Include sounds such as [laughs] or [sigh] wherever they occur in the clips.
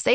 Say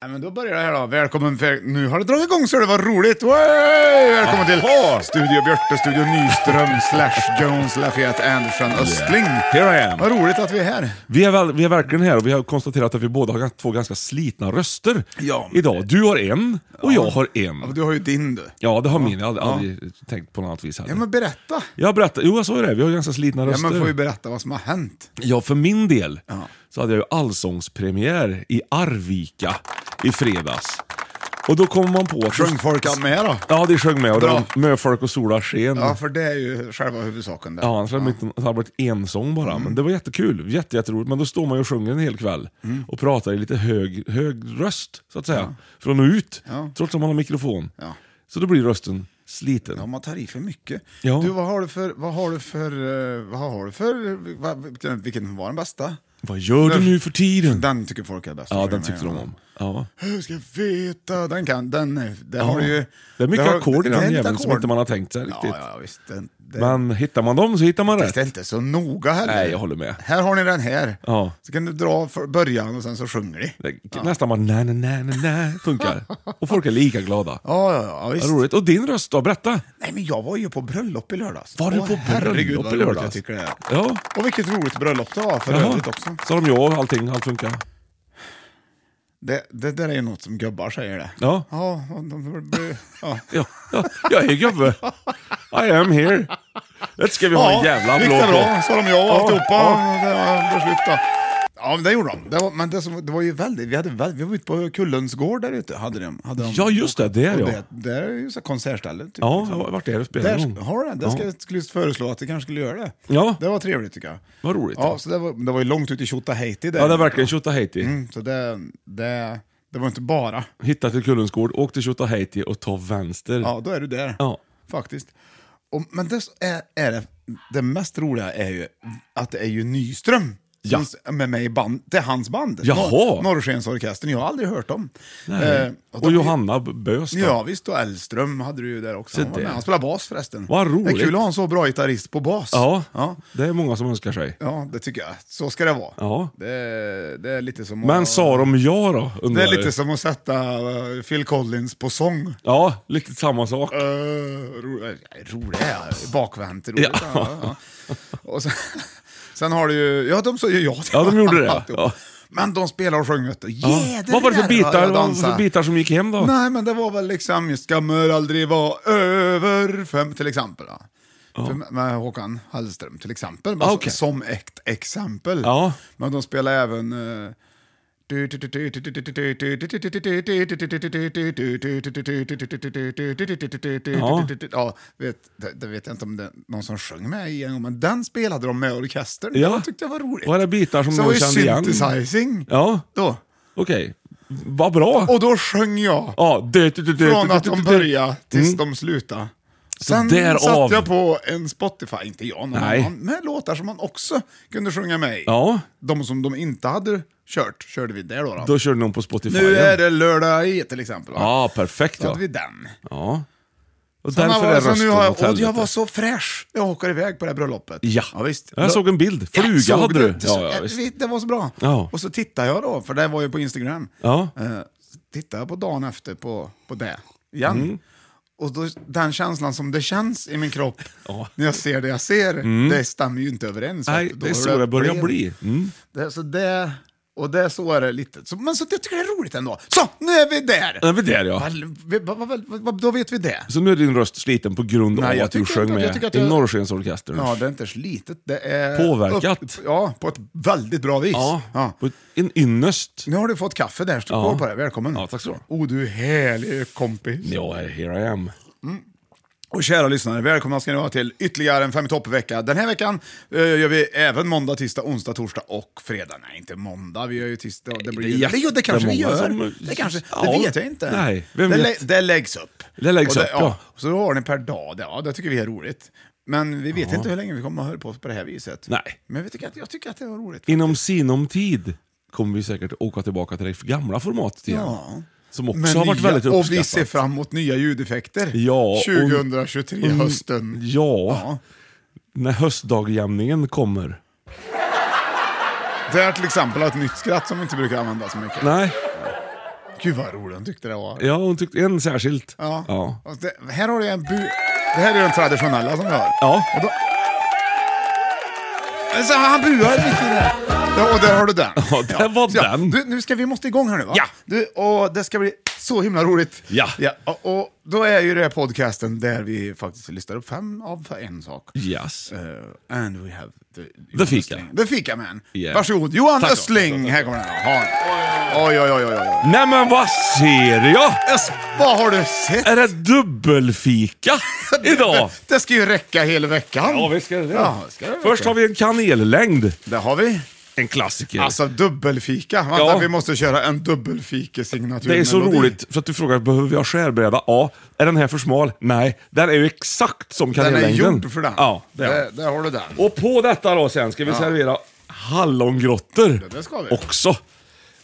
Ja, men då börjar det här då. Välkommen, för... nu har det dragit igång så det var roligt! Way! Välkommen till Studio Björte, Studio Nyström, Slash Jones, Lafayette, Andersson, Östling. Here I am. Vad roligt att vi är här. Vi är, väl, vi är verkligen här och vi har konstaterat att vi båda har gans- två ganska slitna röster Ja. idag. Du har en och jag har Ja, en. du har ju din du. Ja, det har min. Jag har aldrig, aldrig tänkt på något annat vis heller. Ja men berätta. Jag berättar, jo jag sa ju det, vi har ganska slitna Ja röster. men får vi berätta vad som har hänt. Ja, för min del så hade jag ju allsångspremiär i Arvika i fredags. Och då kom man på... att- Sjöng folk med då? Ja, det sjöng med. Och det Bra. var Möfolk och sola sken. Ja för det är ju själva huvudsaken där. Ja, annars hade det inte- det hade varit en sång bara. Mm. Men det var jättekul, jätte, jätteroligt. Men då står man ju och sjunger en hel kväll Mm. och pratar i lite hög, hög röst, så att säga. För att nå ut, trots att man har mikrofon. Ja. Så då blir rösten sliten. Ja, man tar i för mycket. Ja. Du, vad har du för, vad har du för, eh, vad har du för, vad, vilken- vilken var den bästa? Vad gör du nu för tiden? Den tycker folk är bäst. Mm. ja, den tyckte de om. Ja. Hur ska jag veta? Den kan, den, är- det har du ju. Det är mycket har- ackord i det är den lite jäveln som ackord. inte man har tänkt sig riktigt. Ja, ja, visst. Det, det, Men hittar man dem så hittar man det är rätt. inte så noga heller. Nej, jag håller med. Här har ni den här. Ja. Så kan du dra för början och sen så sjunger ni. Det, Nästan bara nej, nej, nej, nej, nej, [laughs] funkar. Och folk är lika glada. Ja, ja, ja, Vad visst. roligt. Och din röst då, berätta. Nej, men jag var ju på bröllop i lördags. Var du Åh, på herregud, bröllop vad i roligt lördags? Jag tycker det är. Ja. Och vilket roligt bröllop det var för övrigt också. Så har de ja och allting, allt funkar. Det, det där är ju något som gubbar säger det. Ja. Ja, och de, ja. Ja, ja, jag är gubbe. I am here. Det ska vi ha en jävla gick applåd det på. bra? Sa de ja och Ja, alltihopa? ja. Ja. Det var beslut då. Ja, men det gjorde de. Det var, men det, som, det var ju väldigt, vi, hade, väl- vi var ute på Kullens gård där ute. Hade de, hade de, Ja, just det, det är och jag. Det, det är ju så här konsertställe. Typ, Ja, jag har varit där och spelat Där, någon gång. har du det? Där ska, Ja. jag skulle just föreslå att vi kanske skulle göra det. Ja. Det var trevligt tycker jag. Vad roligt. Ja, så det var, det var ju långt ut i Tjotahejti där. Ja, det är verkligen Tjotahejti. Mm, Så det, det, det var inte bara. Hitta till Kullens gård, åk till Tjotahejti och ta vänster. Ja, då är du där. Ja. Faktiskt. Och, men det, som är, är det, det mest roliga är ju att det är ju Nyström Ja. som s- med mig i band. Det är hans band. Jaha. Nor- Norrskensorkestern. Jag har aldrig hört dem. Eh, och, de- Johanna B- Bös då. Ja visst, och Elström hade du ju där också. Se Han, var där. med. han spelade bas förresten. Vad roligt. Det är kul att ha en så bra gitarrist på bas. Ja, ja. det är många som önskar sig. Ja, det tycker jag. Så ska det vara. Ja. Det, är- det är lite som Men att, sa de ja då? undrar Det är jag. lite som att sätta eh, Phil Collins på sång. Ja, lite samma sak. Uh, rolig, rolig är bakvänt roligt. Ja. Ja, ja. Och sen, sen har du ju, ja de sa ju ja till Ja, de gjorde det, ja. alltihop. Ja. Men de spelade och sjöng vet du. Ja. Yeah, Vad var det för där, bitar, jag vad var det för dansade. bitar som gick hem då? Nej men det var väl liksom, jag skammer aldrig vara över fem till exempel. Då. För, med Håkan Hallström till exempel, bara Ah, så- okej. som ett exempel. Ja. Men de spelar även... eh, Ja, vet, det, det vet jag inte om det någon som sjöng med i en gång, men den spelade de med orkestern. Ja. Det tyckte jag var roligt. Var det bitar som Så de var ju kände igen? synthesizing. Ja, Då. okej. Vad bra. Och då sjöng jag. Ja, det- det- det- det- Från att det- de det- började tills Mm. de slutade. Så Sen därav. satte jag på en Spotify, inte jag, någon Nej. annan, med låtar som man också kunde sjunga med i. Ja, De som de inte hade kört, körde vi där då. då. då körde de på Spotify. nu igen. är det lördag i till exempel. va? Ja, perfekt Då ja. hade vi den. ja. Och Såna därför var är det som rösten nu har, åt jag, och helvete. jag var så fräsch när jag åkade iväg på det här bröllopet. Ja. ja visst. Jag såg en bild. Ja, Fluga såg hade du. Det, Ja, ja, Jag visst. vet, det var så bra. Ja. Och så tittade jag då, för det var ju på Instagram. Ja. Eh, tittade jag på dagen efter på, på det igen. Mm. Och då, den känslan som det känns i min kropp när jag ser det jag ser, det stämmer ju inte överens. Mm. Nej, För då det är har så det börjar blev- bli. Mm. Det, så det, och det så är det lite. Så, men så, jag tycker det är roligt ändå. Så, nu är vi där! Nu är vi där, ja. Val- vi- va- va- va- va- då vet vi det. Så nu är din röst sliten på grund Nej, av jag att du tycker sjöng inte att- jag med tycker att i jag- Norrskensorkestern. Ja, det är inte slitet. Det är Påverkat. upp- ja, på ett väldigt bra vis. Ja, Ja. på en ynnest. Nu har du fått kaffe där, stå Ja. kvar på det. Välkommen. Ja, tack så mycket. Oh, du härlig kompis. Ja, here I am. Och kära lyssnare, välkomna ska ni vara till ytterligare en Fem i topp-vecka. Den här veckan eh, gör vi även måndag, tisdag, onsdag, torsdag och fredag. Nej, inte måndag, vi gör ju tisdag. Det, blir, det är det, jo, det kanske vi gör. jättemånga som- det, kanske, Ja. det vet jag inte. Nej, vem det, vet? lä- det läggs upp. Det läggs Och upp, ja. ja. Så då har ni per dag, det, ja, det tycker vi är roligt. Men vi vet inte hur länge vi kommer att hålla på på det här viset. Nej. Men vi tycker att, jag tycker att det var roligt. Inom sinom tid kommer vi säkert åka tillbaka till det gamla formatet igen. Ja. Som också Men har varit nya- väldigt uppskattat. och vi ser fram emot nya ljudeffekter. Ja, och- 2023, Mm, hösten. Ja, Ja. när höstdagjämningen kommer. Det är till exempel ett nytt skratt som vi inte brukar använda så mycket. Nej, Gud vad rolig hon tyckte det var. ja, hon tyckte en särskilt. Ja. Ja. Och Det, här har du en bu... Det här är ju den traditionella som vi har. Ja. Och då... Alltså, han buar lite där. Ja, och där har du den. Ja, där var den. Du, nu ska vi måste igång här nu va? Ja. Du, och det ska bli så himla roligt. Ja. och, och då är ju det här podcasten där vi faktiskt listar upp fem av en sak. Yes. Eh, and we have the, The fika. Östling. The fika man. Yeah. Varsågod, Johan Tack så. Östling. Här kommer den. Ha den. Oj, oj, oj, oj, oj. Nej men vad ser jag? Ös, vad har du sett? Är det [laughs] dubbelfika idag? Det ska ju räcka hela veckan. Ja, visst ska det det. Ja, ska det Först har vi en kanellängd. Det har vi. En klassiker. Alltså dubbelfika. Vänta, Ja. vi måste köra en dubbelfikesignatur. det är så roligt, för att du frågar behöver jag skärbräda? Ja. Är den här för smal? Nej. Den är ju exakt som Den är kanellängden. gjord för den. Ja, det är där, den. där har du den. Och på detta då sen ska vi servera hallongrottor. Ja, det ska vi. Också.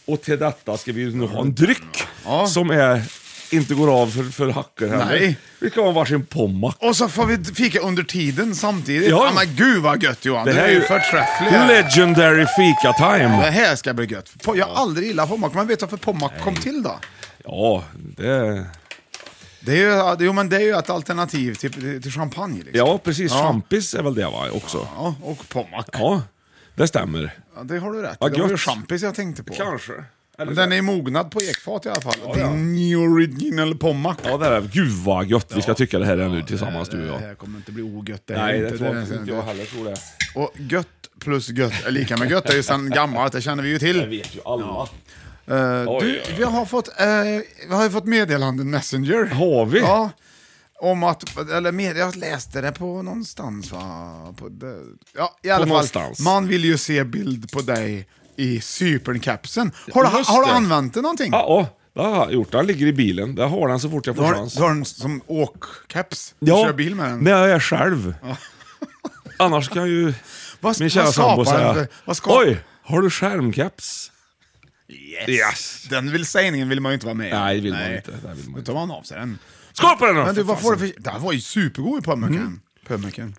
Och till detta ska vi ju nu ha en dryck som är, inte går av för, för hackor heller. Nej. Vi ska ha varsin pommack. Och så får vi fika under tiden samtidigt. Ja. Ja. Men gud vad gött Johan, det Det du här är är ju ju förträfflig. Legendary fika Det time. här ska bli gött. Po- Jag har aldrig gillat Pommac, men vet du varför Pommac kom till då? Ja, det... Det är ju, ja, det- jo, men det är ju ett alternativ till, till champagne. Liksom. Ja, precis. Champis är väl det va, också. Ja, och Pommac. Ja, det stämmer. Ja, det har du rätt i. Ja, Det var ju gött. champis jag tänkte på. Kanske. Eller Men Den är i mognad på ekfat i alla fall. Ja, det är ja. new original Pommac. Ja, det är Gud vad gött vi ska tycka det här är nu tillsammans du och Det jag. här kommer inte bli ogött. Det här Nej, är det tror det- inte jag heller. Tror det. Och gött plus gött är lika med gött. Det är ju sedan gammalt, det känner vi ju till. Det vet ju alla. Eh, Oj, du, oj, oj. vi har fått, eh, vi har ju fått meddelanden Messenger. Har vi? Ja. Om att, eller med, jag läste det på någonstans va? På det, ja, i alla fall. någonstans. Man vill ju se bild på dig i Cypernkepsen. Har, du- Just har du det. använt det någonting? Ja, ja, det har jag gjort. Den ligger i bilen. Där har den så fort jag Du får har, chans. du har den som åkkeps? Du Ja, kör bil med den? när jag är själv. [laughs] Annars kan ju Vad- min kära vad sambo skapar den säga för- vad skapar- Oj, har du skärmkeps? Yes. Yes. Den vill, sägningen vill man ju inte vara med om. Nej, det vill man inte. Det vill man Då inte. tar man av sig den. Skål på den då! Men du, vad för Mm. får du fasen. för... Den var ju supergod i pömmecken. Pömmecken.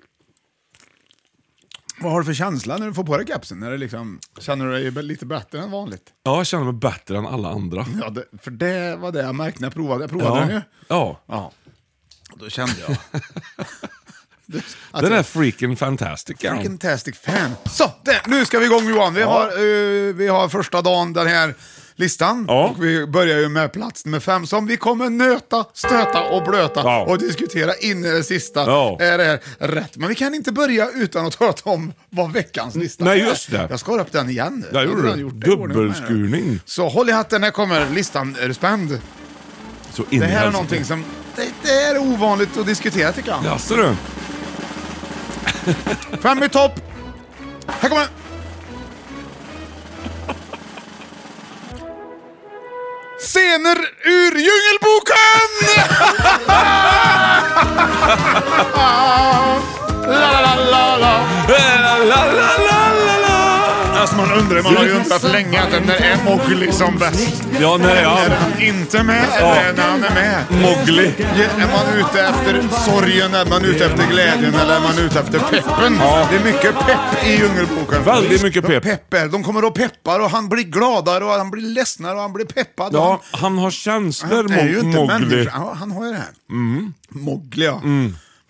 Vad har du för känsla när du får på dig kepsen? Är det liksom, känner du dig lite bättre än vanligt? Ja, jag känner mig bättre än alla andra. Ja, det, för det var det jag märkte när jag provade. Jag provade den ju. ja. Ja. Och Då kände jag... [laughs] Du, att Den är jag- freaking fantastic. ja. Vilken fantastic fan. Så, där, nu ska vi igång Johan. Vi, har, eh, vi har första dagen den här listan. Ja. Och vi börjar ju med plats nummer fem som vi kommer nöta, stöta och blöta Ja. och diskutera in i det sista. Ja. Är det här rätt? Men vi kan inte börja utan att prata om vad veckans lista Nej, är. just det. Jag skar upp den igen nu. Där Jag gjorde har redan du. gjort det i ordning med här. Dubbelskurning. Så håll i hatten, här kommer listan. Är du spänd? Så in Det i här är helsike. någonting som... Det, det är ovanligt att diskutera tycker jag. Jaså du? Fem i topp! Här kommer den! Scener ur Djungelboken! la, la, la, la, la. La, la, la, la, la, la. Alltså man undrar det. Man har ju undrat länge att när är Mowgli som bäst? Ja, nej, ja. Är han inte med Ja. eller är när han är med? Mowgli. Ja, Är man ute efter sorgen, är man ute efter glädjen eller är man ute efter peppen? Ja. Det är mycket pepp i Djungelboken. Väldigt mycket De pepp. peppar. De kommer och peppar och han blir gladare och han blir ledsnare och han blir peppad. och Ja, han- han har känslor, han är ju inte Mo- Mowgli. Mm. människa. Ja, han har ju det här. Mowgli, ja.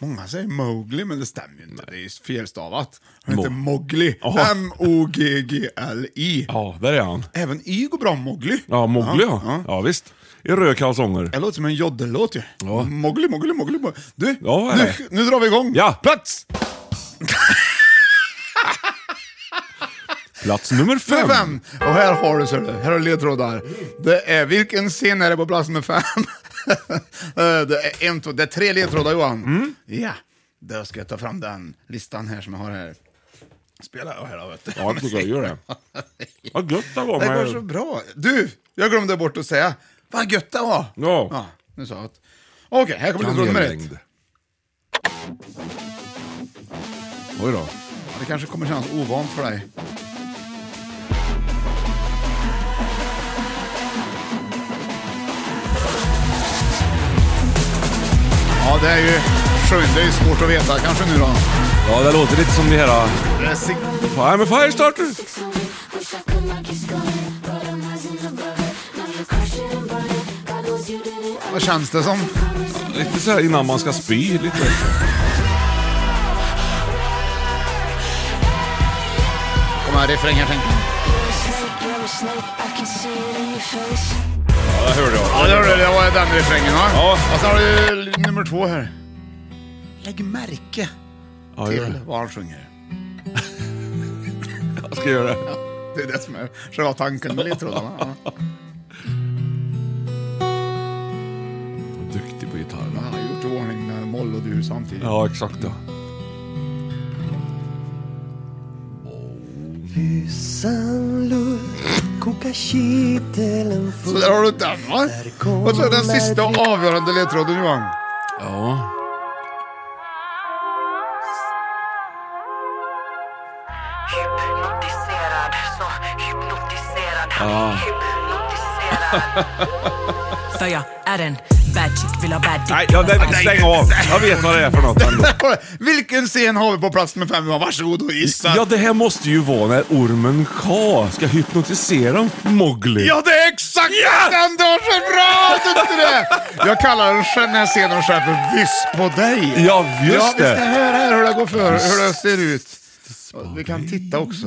Många säger Mowgli, men det stämmer ju inte. Det är ju felstavat. Han heter Mowgli. Ja. M-O-G-G-L-I. Ja, där är han. Även Y går bra, Mowgli. Ja, Mowgli ja. ja. Ja, visst. I röd kalsonger. Det låter som en joddellåt ju. Ja. Mowgli, Mowgli, Mowgli. Mowgli. Du, Ja, nu, nej. nu drar vi igång. Ja. [laughs] Plats Plats nummer fem. nummer fem. Och här har du, ser du. Här har du ledtrådar. Det är, vilken scen är det på plats nummer fem? [laughs] Eh, det, är en, två, det är tre ledtrådar Johan. Mm. Ja, då ska jag ta fram den listan här som jag har här. Spela och här har jag. Ja, jag tycker jag gör det. Vad gött det [laughs] var Det går med... så bra. Du, jag glömde bort att säga. Vad gött det var. Ja. nu sa jag att. Okej, här kommer ledtråd nummer ett. Kanellängd. Oj då. Ja, Det kanske kommer kännas ovant för dig. Ja, det är ju skönt. Det är ju svårt att veta kanske nu då. Ja, det låter lite som det här... Det är sig- I'm a firestarter! Vad känns det som? Lite så här innan man ska spy. Lite. Kommer här refränger tänker jag. Ja, det hörde jag. Ja, det var- det var den refrängen va? Ja. Och sen har du nummer två här. Lägg märke Ja, gör till det. vad han sjunger. Jag ska göra det. Det är det som är själva tanken med [laughs] ledtrådarna. Ja. Duktig på gitarr. Han har gjort i ordning med moll och dur samtidigt. Ja, exakt ja. Så där har du den va? Och så den sista och avgörande ledtråden Johan. Ja. Hypnotiserad, så hypnotiserad, han Ah. är hypnotiserad. För jag är en bad chick, vill ha bad dick. Nej, jag, nej, stäng av. Jag vet vad det är för något. ändå. Kolla, Vilken scen har vi på plats med fem Johan? Varsågod och gissa. Ja, det här måste ju vara när ormen Ka ska hypnotisera Mowgli. Ja, det är exakt den! Du har så bra! tyckte det? Jag kallar den här- den här scenen själv för Viss på dig. Ja, just ja, vi det. ska höra här hur det går för, hur det ser ut. Och Vi kan titta också.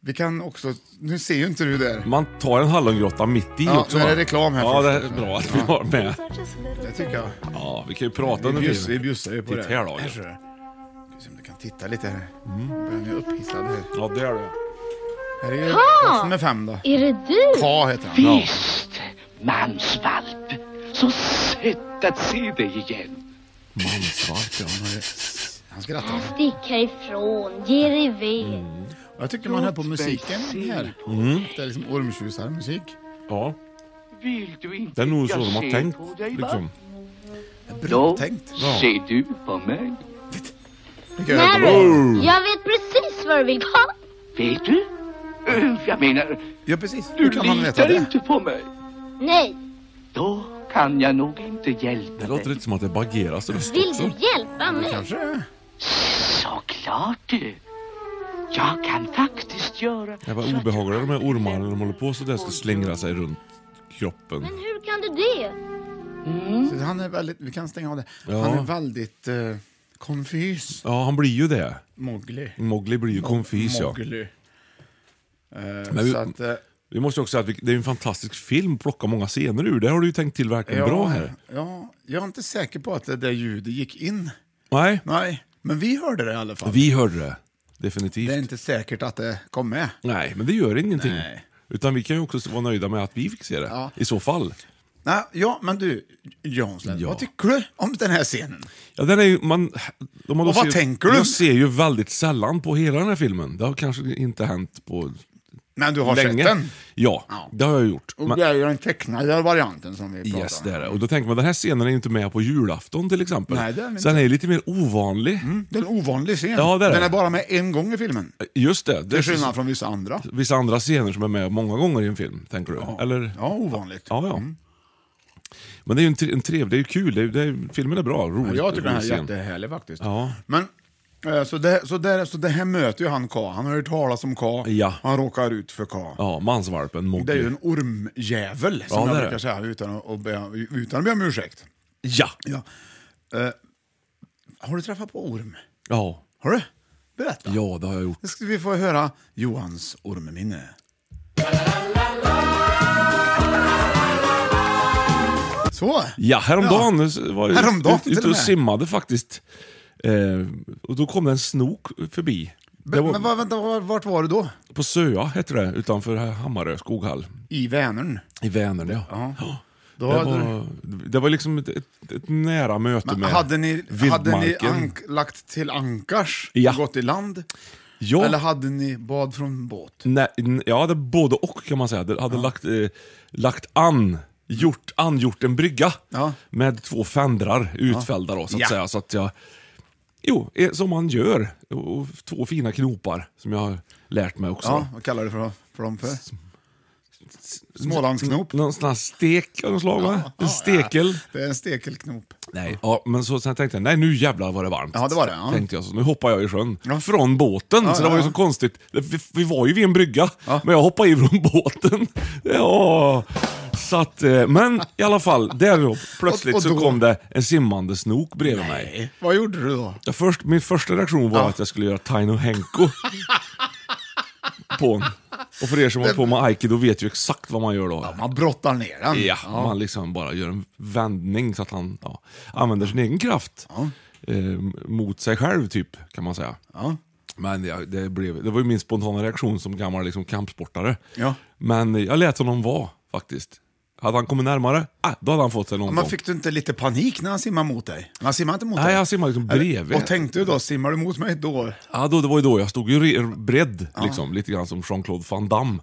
Vi kan också... Nu ser ju inte du där. Man tar en hallongrotta mitt i Ja, också. nu är va? det reklam här Ja, det först. är bra att vi har med. Det tycker jag. Ja, vi kan ju prata Vi under bjuss- vi tiden. bjussar ju på Titta det. här då. Här ser du. Ska se om du kan titta lite här. Mm. Den är upphissad här. Ja, det är det. Här är ju plats nummer fem då. Är det du? Ka heter han. Ja. Visst, mansvalp. Så sött att se dig igen. Mansvalp, ja. Han skrattar. Stick härifrån, ge dig iväg. Jag tycker man hör på musiken här. Mm. Det är liksom ormtjusarmusik. ja. Vill du inte Det är nog så jag de har ser tänkt. på dig, va? Liksom. Då tänkt. ser du på mig. Närmare. Jag vet precis vad du vill ha. Vet du? Eh, Jag menar, Ja, precis. du Hur kan man veta litar det? inte på mig. Nej, Då kan jag nog inte hjälpa Det låter dig. lite som att det är Bagheeras röst vill också. du hjälpa mig? Kanske det. Såklart du. Jag kan faktiskt göra... Det så var att jag obehagligt de här aldrig ormarna när de lämnar håller på så där ska slingra sig runt kroppen. Men hur kan du det? Så han är väldigt, vi kan stänga av det. Ja. Han är väldigt eh, konfys. Ja, han blir ju det. Mowgli. Mowgli blir ju konfys ja. Mowgli. Eh, vi- så att, eh, Vi måste också säga att vi, det är en fantastisk film, plocka många scener ur. Det har du ju tänkt till verkligen ja, bra här. Ja, jag är inte säker på att det där ljudet gick in. Nej, Nej. Men vi hörde det i alla fall. Vi hörde det. Definitivt. Det är inte säkert att det kom med. Nej, men det gör ingenting. Nej. Utan vi kan ju också vara nöjda med att vi fick se det. Ja. I så fall. Nej, ja, men du, Jansson, Ja. vad tycker du om den här scenen? Ja, den är ju, man, de har då Och vad ser, tänker du? Jag ser ju väldigt sällan på hela den här filmen. Det har kanske inte hänt på Men du har länge. sett den? Ja, Ja. det har jag gjort. Och Men- det är ju den tecknade varianten som vi pratar Yes, om. det är det. Och då tänker man, den här scenen är ju inte med på julafton till exempel. Nej, det är den Mm. så den är ju lite mer ovanlig. Det är en ovanlig scen. Ja, det är den det. är bara med en gång i filmen. Just det. Det Till är skillnad från vissa andra. vissa andra scener som är med många gånger i en film, tänker du? Eller? Ja, ovanligt. Mm. Ja, ja. Men det är ju en, tre- en trevlig, det är ju kul, det är, ju- det är, filmen är bra, rolig. Jag tycker den här rolig är scen. jättehärlig faktiskt. Ja. Men, eh, så, det, så, det, så det här möter ju han K. Han har hört talas om K. Ja. Han råkar ut för K. Ja, mansvalpen Mowgli. Det är ju en ormjävel, Ja, som det är jag det. brukar säga utan att, att be, utan att be om ursäkt. Ja! Ja. Eh, har du träffat på orm? Ja. Har du? Berätta. ja, det har jag gjort. Nu ska vi få höra Johans ormminne. Så! Ja, häromdagen var jag Häromdagen ut, till ute och och med. simmade faktiskt. Eh, och då kom det en snok förbi. Det var Men vad- vänta, var- vart var du då? På Söa heter det, utanför Hammarö skoghall. I Vänern. I Vänern, ja. Ja. Då det, hade du- var, det var liksom ett, ett, ett nära möte Men med hade ni, hade ni vildmarken. ank, lagt till ankars Ja. och gått i land? ja, Eller hade ni bad från båt? nej, n- ja, det är både och kan man säga. Det hade lagt, eh, lagt an, gjort, angjort en brygga Ja. med två fändrar utfällda då, så att Ja. säga. Så att jag, jo, eh, som man gör. Och och två fina knopar som jag har lärt mig också. Ja, vad kallar du för, för dem för? Smålandsknop? Någon sån här stek av något slag, va? En stekel. Det är en stekelknop. Nej. Ja, men så sen tänkte jag, nej nu jävlar var det varmt. Ja, det var det, ja. Tänkte jag, så nu hoppar jag i sjön. Ja. Från båten, så det ja, var ju ja. så konstigt. Vi, vi var ju vid en brygga, men jag hoppade i från [laughs] båten. Ja, så att, eh, men i alla fall, där då, plötsligt Och- och då- så kom det en simmande snok bredvid mig. Vad gjorde du då? Ja, först, min första reaktion var Ja. att jag skulle göra [laughs] Taino Henko på en. Och för er som har på med aikido vet ju exakt vad man gör då. Man brottar ner den. Ja, man liksom bara gör en vändning så att han ja, använder sin egen kraft eh, mot sig själv, typ, kan man säga. Men jag, det, blev, det var ju min spontana reaktion som gammal liksom, kampsportare. Ja. Men jag lät honom vara, faktiskt. Hade han kommit närmare, ah, då hade han fått sig någon Men gång. fick du inte lite panik när han simmade mot dig? Han simmade inte mot Nej, dig? han simmade liksom Eller- bredvid. Och tänkte du då, simmar du mot mig då? Ja, då, det var ju då jag stod ju re- bredd, liksom, lite grann som Jean-Claude Van Damme.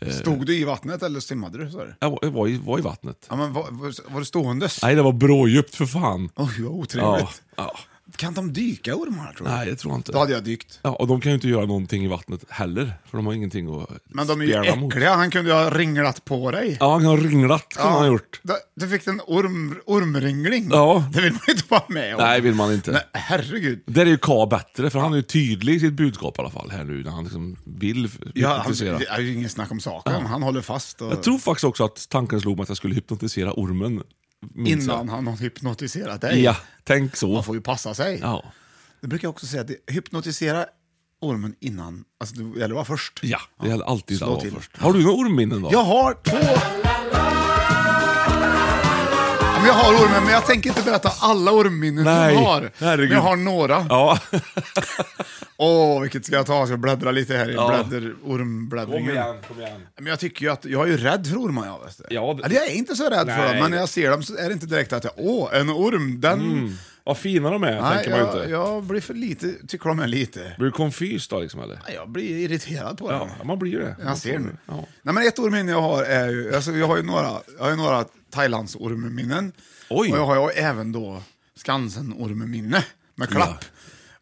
Eh. Stod du i vattnet eller simmade du? Så här? Jag, var, jag var, i, var i vattnet. Ja, men var, var, var du ståendes? Nej, det var brådjupt för fan. Oj, vad otrevligt. ja. Kan de dyka ormar tror du? Nej, det tror jag inte. Då hade jag dykt. Ja, och de kan ju inte göra någonting i vattnet heller, för de har ingenting att Men de är ju spjärna mot. äckliga, han kunde ju ha ringlat på dig. Ja, han har ringlat, kan han ha gjort. Du, du fick en orm, ormringling. Ja. Det vill man ju inte vara med om. Nej, vill man inte. Nej, herregud. Där är ju K bättre, för han är ju tydlig i sitt budskap i alla fall här nu, när han liksom vill Ja, han, hypnotisera. det är ju ingen snack om saken. Han håller fast. Och... Jag tror faktiskt också att tanken slog mig att jag skulle hypnotisera ormen. minns Innan jag. han har hypnotiserat dig. Ja, tänk så. Man får ju passa sig. Ja. Det brukar jag också säga, att det- hypnotisera ormen innan. Alltså, det gäller att vara först. Ja, det gäller alltid Slå att vara till. först. Har du några ormminnen då? Jag har två... Ja, men jag har ormen, men jag tänker inte berätta alla ormminnen Nej, jag har. herregud. Men jag har några. Ja. Åh, vilket ska jag ta? Ska jag bläddra lite här i Ja. blädder, ormbläddringen? kom igen. Men jag tycker ju att, jag är ju rädd för ormar jag. Vet du. Ja, det- Eller jag är inte så rädd för Nej. dem, men när jag ser dem så är det inte direkt att jag, åh, en orm, den... Vad fina de är, Nej, Mm, tänker man ju jag, inte. jag blir för lite, tycker de är lite... Blir du konfys då liksom eller? Nej, Jag blir irriterad på Ja, dem. man blir ju det. Jag ser nu. Ja. Nej, men ett ormminne jag har är ju, alltså, jag har ju några, jag har ju några Thailandsormminnen. Oj. Och jag har ju även då Skansen-ormminne med klapp.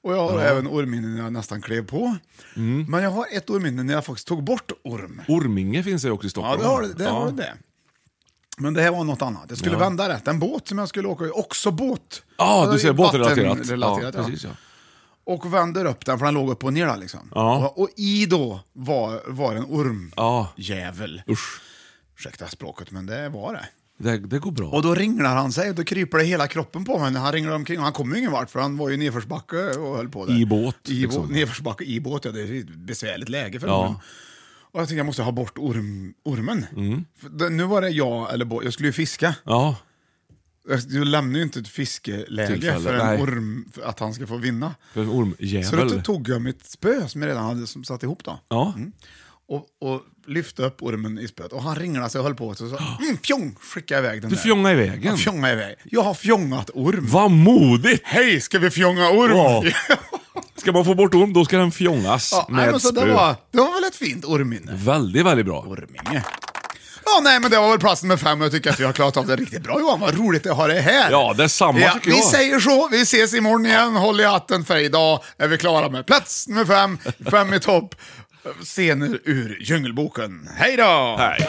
Och jag har även ormminne när jag nästan klev på. Mm. Men jag har ett ormminne när jag faktiskt tog bort orm. Orminge finns det ju också i Ja, Stockholm. det har du det. Ja. Har du det. Men det här var något annat. Jag skulle vända rätt. En båt som jag skulle åka i, också båt. Ja, du Alltså, ser båtrelaterat. vattenrelaterat, ja, ja. precis ja. Och vänder upp den, för den låg upp och ner där liksom. Ja. Och, och i då var, var en orm. Ja. Jävel. Usch, Ursäkta språket, men det var det. det, det går bra. Och då ringlar han sig, och då kryper det hela kroppen på mig när han ringlar omkring. Och han kommer ju ingen vart, för han var ju i nedförsbacke och höll på där. I båt, I liksom. båt nedförsbacke i båt, ja det är ju ett besvärligt läge för Ja. ormen. Och jag tänkte jag måste ha Mm. bort orm, ormen. För det, nu var det jag eller båt, jag skulle ju fiska. Ja, Du lämnar ju inte ett fiskeläge Tillfälle, för en nej. orm för att han ska få vinna. För en ormjävel. Så då tog jag mitt spö som jag redan hade som satt ihop då. Mm. Ja. Och, och lyfte upp ormen i spöet. Och han ringlade sig och höll på. Så, [gasps] så mm, fjong, skickade jag iväg den Du där. fjongade iväg den. Jag fjongade iväg. Jag har fjongat orm. Vad modigt! Hej, ska vi fjonga orm? Ja. Ska man få bort orm, då ska den fjongas [laughs] Ja, nej, men med så spö. det, var, det var väl ett fint ormminne? Väldigt, väldigt bra. Orminge. Ja, nej, men det var väl platsen med fem. Jag tycker att vi har klarat av det riktigt bra Johan. Vad roligt att ha det här. Ja, detsamma Ja, tycker vi jag. säger så. Vi ses imorgon igen. Håll i hatten för idag är vi klara med plats nummer fem. Fem i topp. Scener ur Djungelboken. Hej då! Nej.